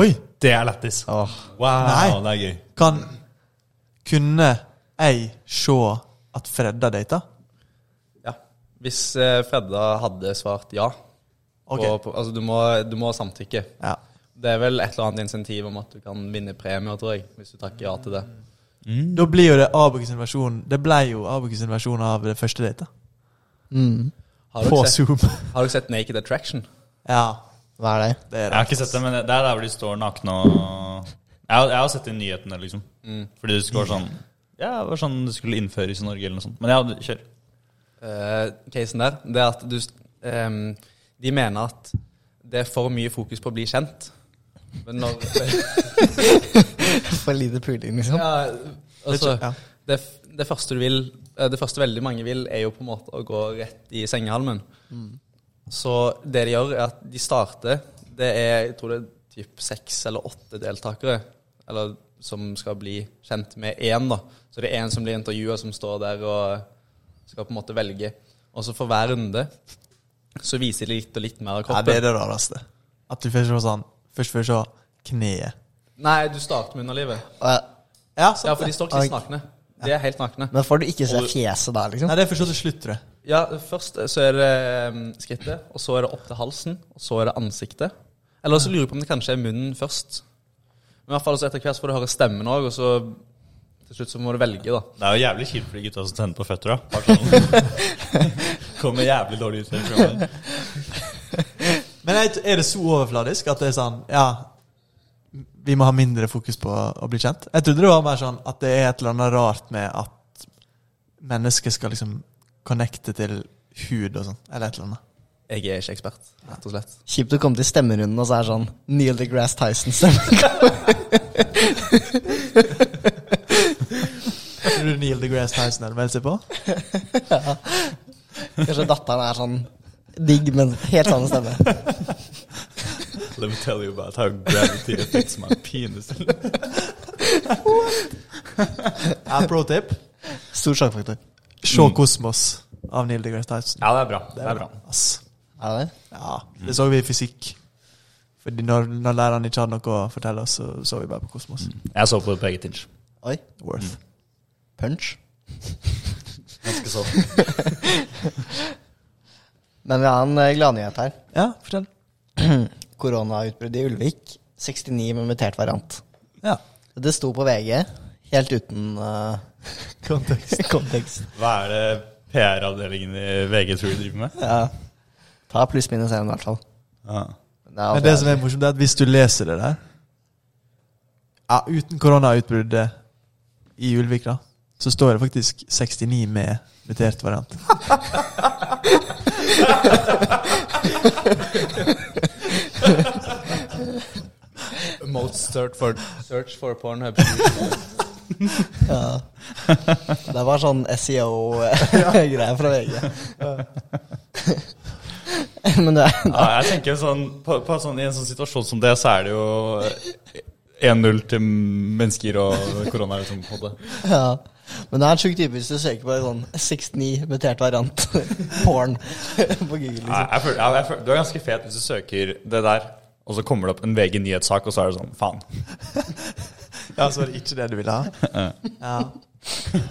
Oi
Det er lættis. Wow, det er gøy.
Kan Kunne jeg se at Fredda data?
Ja. Hvis eh, Fredda hadde svart ja
Ok.
på, på, Altså, du må, du må samtykke.
Ja.
Det er vel et eller annet insentiv om at du kan vinne premier, tror jeg, hvis du takker ja til det.
Da blir jo det Abuk sin versjon Det ble jo Abuk sin versjon av det første data.
Har
På
dere sett,
Zoom.
har dere sett Naked Attraction?
ja,
Hva er det?
det er
Jeg
det.
har ikke sett det, men det det er der hvor de står nakne og Jeg har, jeg har sett det i nyhetene, liksom. Fordi det skulle være sånn Ja, det var sånn det skulle innføres i Norge, eller noe sånt. Men ja, kjør.
Eh, casen der, det er at du ehm, De mener at det er for mye fokus på å bli kjent. Men når
For lite puling, liksom?
Ja, altså,
Ja.
det, f- det første du vil eh, Det første veldig mange vil, er jo på en måte å gå rett i sengehalmen.
Mm.
Så det de gjør, er at de starter Det er jeg tror det er typ seks eller åtte deltakere eller, som skal bli kjent med én. da. Så det er én som blir intervjua, som står der og skal på en måte velge. Og så for hver runde så viser de litt og litt mer av
ja, det
kroppen.
er det rareste. At du får se sånn Først får se kneet.
Nei, du starter med underlivet.
Og-
Ja,
Ja,
sant
for de
det.
står kliss nakne. De er helt nakne.
Men får du ikke se fjeset da, liksom?
Nei, det får se til slutt, tror jeg.
Ja, først så er det ehm, skrittet, og så er det opp til halsen, og så er det ansiktet. Eller så lurer jeg på om det kanskje er munnen først. Men i hvert fall så etter hvert så får du høre stemmen òg, og så til slutt så må du velge, da.
Det er jo jævlig kjipt for de gutta som tenner på føtter, da. Bare sånn. Kommer jævlig dårlig ut. i programmet.
Men er er det så overfladisk at det er sånn Ja, vi må ha mindre fokus på å bli kjent? Jeg trodde det var mer sånn at det er et eller annet rart med at mennesker skal liksom connecte til hud og sånn, eller et eller annet.
Jeg er ikke ekspert, rett og slett.
Kjipt å komme til stemmerunden, og så er det sånn Neil deGrasse Tyson-stemme.
Tror du Neil deGrasse Tyson hadde meldt seg på?
Kanskje datteren er sånn digg, men helt samme stemme.
Let me tell you about how gravity affects my penis.
Ja, pro tip.
Stor sjakkfaktor.
Se Kosmos av Neil deGrasse Tyson.
Ja, det er bra. Det er bra.
Ass.
Er det det?
Ja, det så vi i fysikk. Fordi når, når læreren ikke hadde noe å fortelle oss, så så vi bare på Kosmos.
Jeg så på det på eget inch.
Oi.
Worth.
Punch.
Ganske så.
Men vi har en eh, gladnyhet her.
Ja, fortell.
Koronautbruddet i Ulvik. 69 med mutert variant.
Ja.
Det sto på VG Helt uten eh, kontekst.
Hva er det PR-avdelingen i VG tror de driver med?
Ja. Ta pluss-minus én, i hvert fall.
Ja.
Det er
Men
alt
det
jeg-
som er morsomt, er at hvis du leser det der Ja, uten koronautbruddet i Ulvik, da, så står det faktisk 69 med mutert variant.
Most search for, search for Pornhub.
Ja. Det var sånn SEO-greier fra VG. Men det er
Ja, jeg tenker sånn, på, på sånn, I en sånn situasjon som det, så er det jo 1-0 til mennesker og korona. Liksom, på en måte.
ja. Men det er en sjuk type hvis du søker på sånn 69 mutert variant porn på Google.
Nei,
Liksom.
jeg føler, jeg, jeg føler, du er ganske fet hvis du søker det der, og så kommer det opp en VG-nyhetssak, og så er det sånn faen.
Ja, så var det ikke det du ville ha? Ja.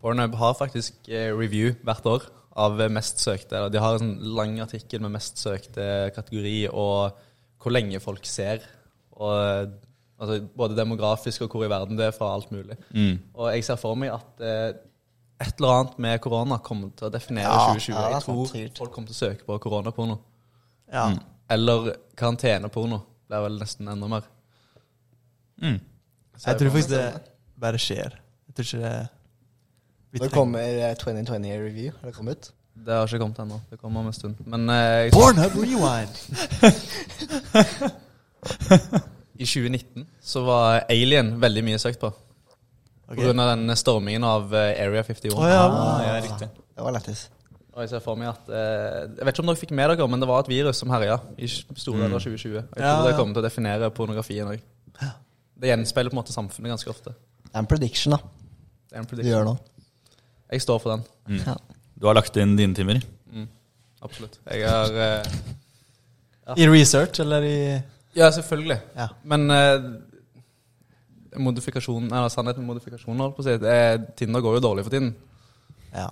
Pornhub har faktisk eh, review hvert år av eh, mest søkte. eller De har en sånn lang artikkel med mest søkte kategori og hvor lenge folk ser. Og, eh, altså, både demografisk og hvor i verden det er fra alt mulig. Og jeg ser for meg at eh, et eller annet med korona kommer til å definere
Ja, ja, det
2020.
er
jeg tror
sant, sikkert.
folk kommer til å søke på koronaporno.
ja.
Eller karanteneporno. Det er vel nesten enda mer.
Jeg tror faktisk det bare skjer. Jeg tror ikke det vi
Det
trenger-
kommer eh, 2020 review. Har det kommet ut?
Det har ikke kommet ennå. Det kommer om en stund. Men eh, jeg-
Pornhub rewind!
i 2019 så var Alien veldig mye søkt på.
Ok.
På grunn av den stormingen av eh, Area 51.
Å, ja.
Ah, ja, riktig.
Det var lættis.
Og jeg ser for meg at eh, Jeg vet ikke om dere fikk med dere, men det var et virus som herja i store
Mm.
deler av 2020. Jeg tror
Ja,
det
ja.
kommer til å definere pornografien òg. Det gjenspeiler på en måte samfunnet ganske ofte.
Det er en prediction, da.
Det er en
Du gjør
prediction.
nå.
Jeg står for den.
Mm.
Ja.
Du har lagt inn dine timer?
Absolutt. Jeg har eh,
I research, eller i
Ja, selvfølgelig.
Ja.
Men eh, modifikasjon, eller sannheten med modifikasjoner, holdt på å si. Det er, Tinder går jo dårlig for tiden.
Ja.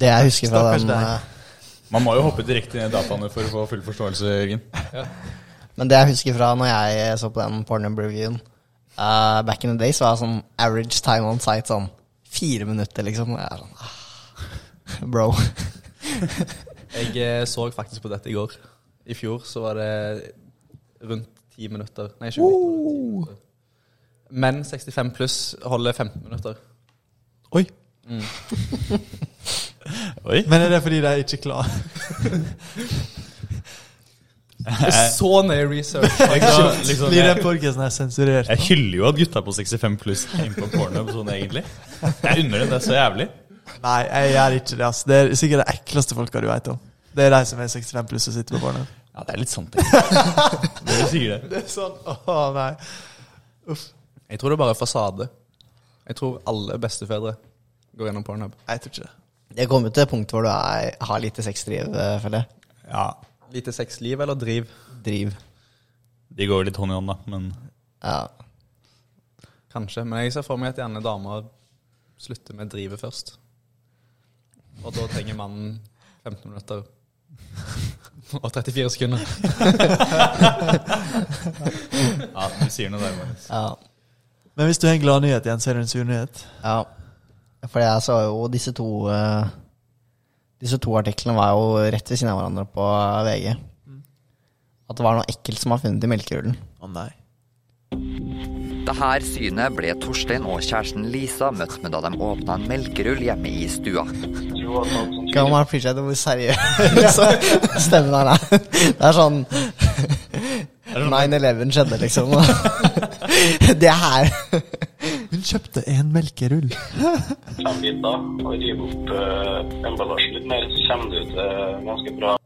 Det jeg husker fra
Stakkars
den
deg.
eh,
Man må jo hoppe direkte ned i dataene for å få full forståelse, Jørgen.
Men det jeg husker fra når jeg eh, så på den pornhub-reviewen eh, back in the days, var sånn average time on site sånn fire minutter, liksom. Og jeg er sånn, ah, bro.
Jeg eh, så faktisk på dette i går. I fjor så var det rundt 10 minutter. Nei, 20 minutter. 10 minutter. Men 65 pluss holder 15 minutter.
Oi.
Oi.
Men er det fordi de er ikke klare?
Så nøye research!
Liksom, liksom,
Blir den
jeg,
podkasten her sensurert?
jeg hyller jo at gutta på 65 pluss er inne på porno sånn, egentlig. Jeg unner dem det så jævlig.
Nei, jeg gjør ikke det. ass Det er sikkert de ekleste folka du veit om. Det er de som er 65 pluss og sitter på barnet.
Ja, det er litt sant, egentlig. Dere sier det.
Det er sånn, å nei Uff.
Jeg tror det er bare fasade. Jeg tror alle bestefedre går gjennom Pornhub.
Jeg tror ikke det.
Det kommer til et punkt hvor du er, har lite sexdriv, eh, føler jeg.
Ja,
Lite sexliv eller driv?
Driv.
De går litt hånd i hånd, da, men
Ja.
Kanskje. Men jeg ser for meg at gjerne damer slutter med drivet først. Og da trenger mannen 15 minutter og 34 sekunder.
ja, du sier noe der, Magnus.
ja.
Men hvis du har en gladnyhet igjen, så er det en surnyhet.
Ja. For jeg så jo disse to eh, Disse to artiklene var jo rett ved siden av hverandre på VG. At det var noe ekkelt som var funnet i melkehulen.
Å nei.
Det her synet ble Torstein og kjæresten Lisa møtt med da de åpna en melkerull hjemme i stua.
Kan man appreciate hvor seriøs stemmen her er? Det er sånn
sånn-
9-11 skjedde, liksom. Det her
Hun kjøpte en melkerull.
fem biter og rive opp eh, emballasjen litt mer, så kommer det ut eh, ganske bra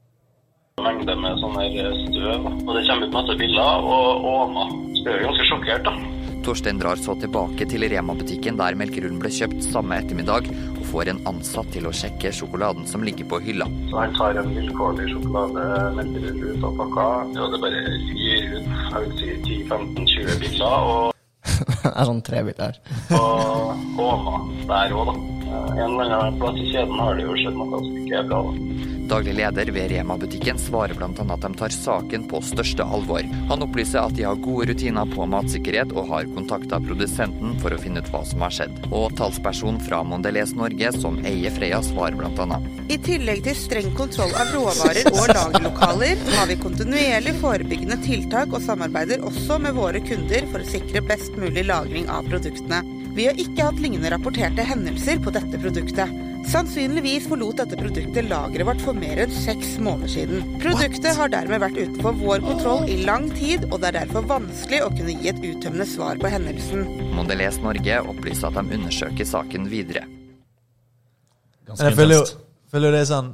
mengde med sånn her eh, støv. Og det kommer ut masse biller og åner. Så jeg er jo ganske sjokkert, da.
Torstein drar så tilbake til Rema-butikken der melkerullen ble kjøpt samme ettermiddag, og får en ansatt til å sjekke sjokoladen som ligger på hylla.
Så han tar en vilkårlig sjokolade, melker det ut av pakka, og det bare gir ut jeg vil si 10-15-20 biller og,
Det er sånn tre bilder her.
og åner der òg, da. Eh, En eller annen plass i kjeden har det jo skjedd noe som ikke er bra, da.
Daglig leder ved Rema-butikken svarer bl.a. at de tar saken på største alvor. Han opplyser at de har gode rutiner på matsikkerhet og har kontakta produsenten for å finne ut hva som har skjedd. Og talsperson fra Mondelez Norge, som eier Freia, svarer bl.a.
I tillegg til streng kontroll av råvarer og lagerlokaler, har vi kontinuerlig forebyggende tiltak og samarbeider også med våre kunder for å sikre best mulig lagring av produktene. Vi har ikke hatt lignende rapporterte hendelser på dette produktet. Sannsynligvis forlot dette produktet lageret vårt for mer enn seks måneder siden. Produktet har dermed vært utenfor vår kontroll i lang tid, og det er derfor vanskelig å kunne gi et uttømmende svar på hendelsen.
Mondelez Norge opplyser at de undersøker saken videre.
Men jeg føler jo, føler jo det er sånn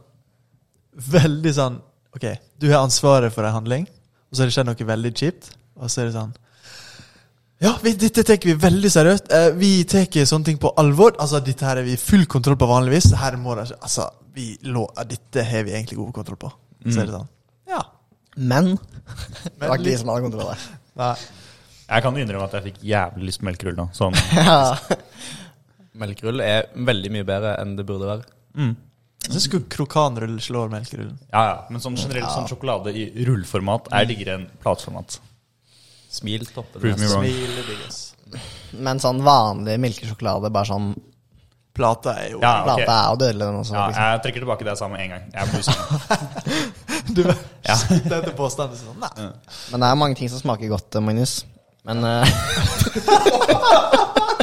Veldig sånn OK, du har ansvaret for en handling, og så har det skjedd noe veldig kjipt. Og så er det sånn Ja, vi, dette tar vi veldig seriøst. Eh, vi tar sånne ting på alvor. Altså, Dette her har vi full kontroll på vanligvis. Her må det ikke Altså, vi lå, ja, dette har vi egentlig god kontroll på. Så er det sånn. Ja.
Men det var ikke de som hadde kontroll der.
Nei.
Jeg kan innrømme at jeg fikk jævlig lyst på melkerull nå. Sånn.
Ja.
Melkerull er veldig mye bedre enn det burde være.
Så skulle krokanrull slå melkerullen.
Ja, ja. Men sånn generelt sånn sjokolade i rullformat er diggere enn plateformat.
Smil topper det
Prove me
meste.
wrong.
Men sånn vanlig melkesjokolade, bare sånn
Plata er jo
Ja, ok.
plate er jo dødelig, den også.
Ja,
liksom.
jeg trekker tilbake det jeg sa med en gang. Jeg blir sånn.
Du ja. Dette påstanden sånn Nei.
Men det er mange ting som smaker godt, eh, Magnus. Men eh,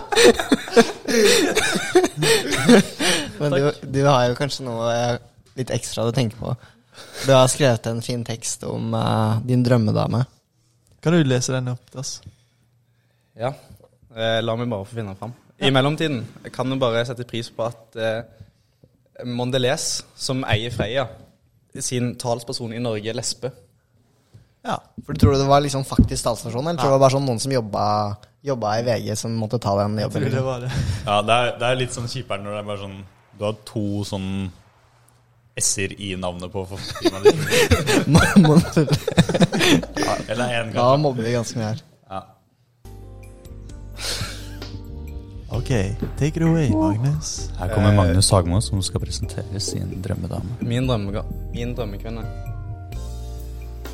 Men du, du har jo kanskje noe eh, litt ekstra du tenker på. Du har skrevet en fin tekst om eh, din drømmedame.
Kan du lese den opp? Dass?
Ja. Eh, La meg bare få finne den fram. I mellomtiden kan du bare sette pris på at eh, Mondelez, som eier Freia, sin talsperson i Norge er lesbe.
Ja.
For Tror du det var liksom faktisk talsperson, eller tror du det var bare sånn noen som jobba, jobba i VG, som måtte ta den
Tror
jobben?
det
Liksom?
var det.
Ja, det er, det er litt sånn kjipere når det er bare sånn Du har to sånn S-er i navnet på forfatterskrivet ditt. Eller én
Ja,
gang.
mobber vi ganske mye her.
OK, take it away, Magnus.
Her kommer Magnus Hagmo, som skal presentere sin drømmedame.
Min, drømmega- min drømmekvinne.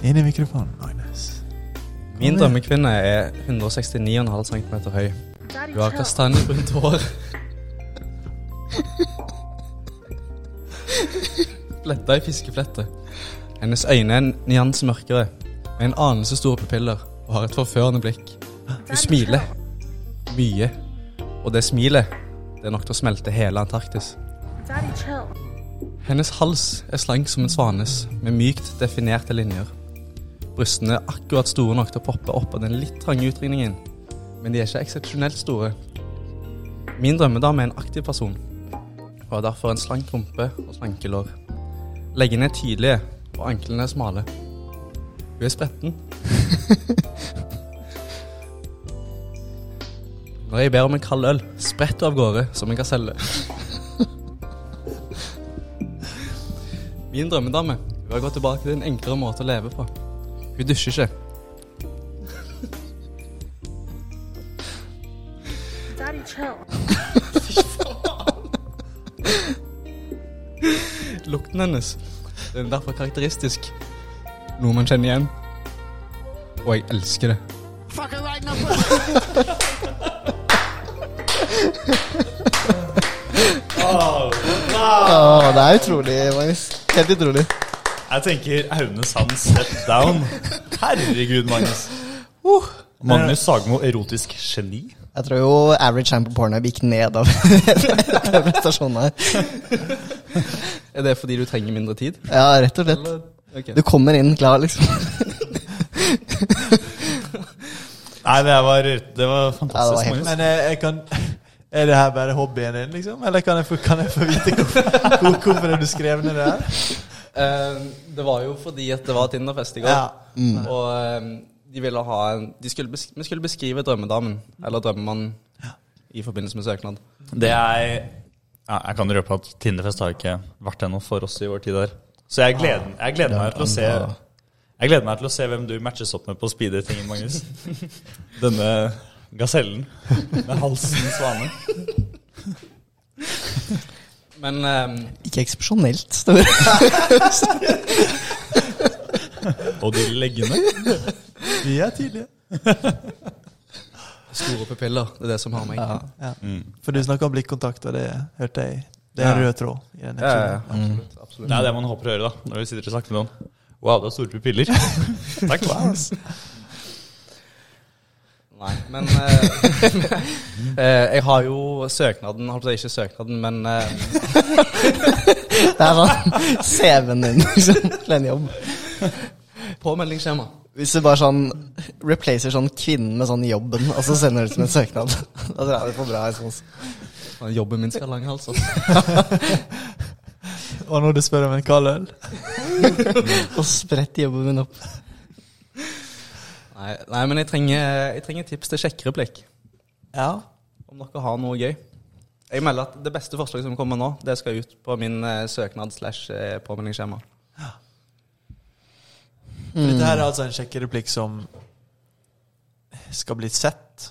Inn i mikrofonen, Magnus.
Min drømmekvinne er 169,5 cm høy.
Daddy,
Hun har
chill.
kastanjebrunt hår. Fletta i fiskeflette. Hennes øyne er en nyanse mørkere, med en anelse store pupiller og har et forførende blikk. Hun smiler. Mye. Og det smilet, det er nok til å smelte hele Antarktis.
Daddy, chill.
Hennes hals er slank som en svanes, med mykt definerte linjer. Brystene er akkurat store nok til å poppe opp av den litt trange utringningen, men de er ikke eksepsjonelt store. Min drømmedame er en aktiv person, og har derfor en slank rumpe og slanke lår. Leggene er tydelige, og anklene er smale. Hun er spretten. Når jeg ber om en kald øl, spretter hun av gårde som en gaselle. Min drømmedame hun har gått tilbake til en enklere måte å leve på. Hun dusjer ikke.
Daddy, chill.
Lukten hennes den er derfor karakteristisk. Noe man kjenner igjen. Og jeg elsker det.
Å, det er utrolig, Magnus. Helt utrolig.
Jeg tenker Aune Sand step down. Herregud, Magnus.
Uh.
Magnus Sagmo, erotisk geni.
Jeg tror jo average time på pornhub gikk ned av den prestasjonen her.
Er det fordi du trenger mindre tid?
Ja, rett og slett.
Ok.
Du kommer inn klar, liksom.
Nei, det var, det var
Ja, det var helt-
fantastisk, Magnus.
Men eh, jeg kan Er det her bare hobbyen din, liksom? Eller kan jeg få, kan jeg få vite hvorfor, hvor- hvorfor er du skrev ned det her?
Eh, det var jo fordi at det var Tinderfest i går.
Ja.
mm.
Og eh, de ville ha en de skulle besk Vi skulle beskrive drømmedamen, eller drømmemannen, i forbindelse med søknad.
Det er ja, Jeg kan røpe at Tinderfest har ikke vært ennå for oss i vår tid der. Så jeg gleder,
Ah.
jeg gleder meg til å se Jeg gleder meg til å se hvem du matches opp med på speedertingen, Magnus. Denne gasellen med halsen svane.
Men ehm,
Ikke eksepsjonelt store.
Og de leggene.
Vi er tidlige.
store pupiller, det er det som har meg.
Ja.
Ja. For du snakka om blikkontakt, og det hørte jeg. Det er en rød tråd. i den
Ja,
episoden.
ja, absolutt, absolutt.
Det er det man håper å høre, da. Når vi sitter og snakker med noen. Wow, du har store pupiller. Takk.
Nei, men eh, eh, Jeg har jo søknaden, holdt på å si ikke søknaden, men eh,
Det er sånn CV-en din liksom, til en jobb.
påmeldingsskjema.
Hvis du bare sånn replacer sånn kvinnen med sånn jobben, og så sender du det som en søknad, da tror jeg vi får bra respons.
Og Jobben min skal ha lang hals. altså.
Og når du spør om en kald øl
Og spredt jobben min opp.
Nei, nei, men jeg trenger, jeg trenger tips til sjekkereplikk.
Ja.
Om dere har noe gøy. Jeg melder at Det beste forslaget som kommer nå, det skal ut på min eh, søknad slash eh, påmeldingsskjema.
For Dette her er altså en sjekkereplikk som skal bli sett.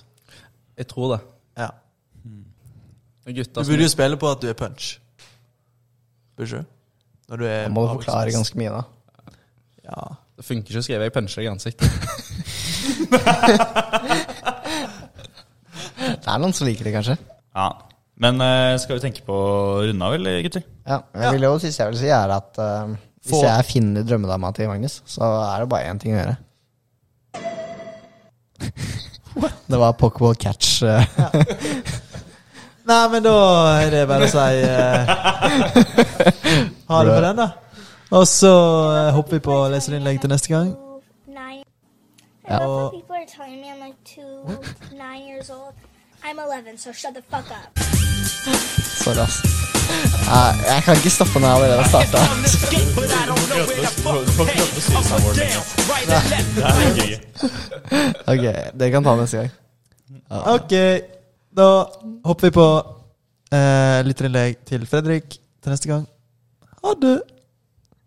Jeg tror det.
Ja.
Og
Du
Gutta som
burde jo spille på at du er punch. Burde du? Når du er
Da må du forklare ganske mye, da.
Ja.
Det funker ikke å skrive 'jeg puncher deg i ansiktet'.
Det er noen som liker det, kanskje.
Ja. Men eh, skal vi tenke på å runde av, eller, gutter?
Ja, jeg vil jo, siste jeg vil si, er at eh, hvis
Få-
jeg finner drømmedama til Magnus, så er det bare én ting å gjøre. Det var Pokéball catch. eh.
Nei, men da er det bare å si eh, ha det på den, da. Og så eh, hopper vi på leserinnlegg til neste gang.
Nine.
Ja.
I love how people are telling me I'm like two, nine years old. I'm 11, so shut the fuck up.
Sorry, ass. Nei, jeg kan ikke stoppe når jeg allerede har starta.
liksom. Det er gøy.
Ok, dere kan ta det neste gang.
Ok, da hopper vi på eh, lytterinnlegg til Fredrik til neste gang. Ha det.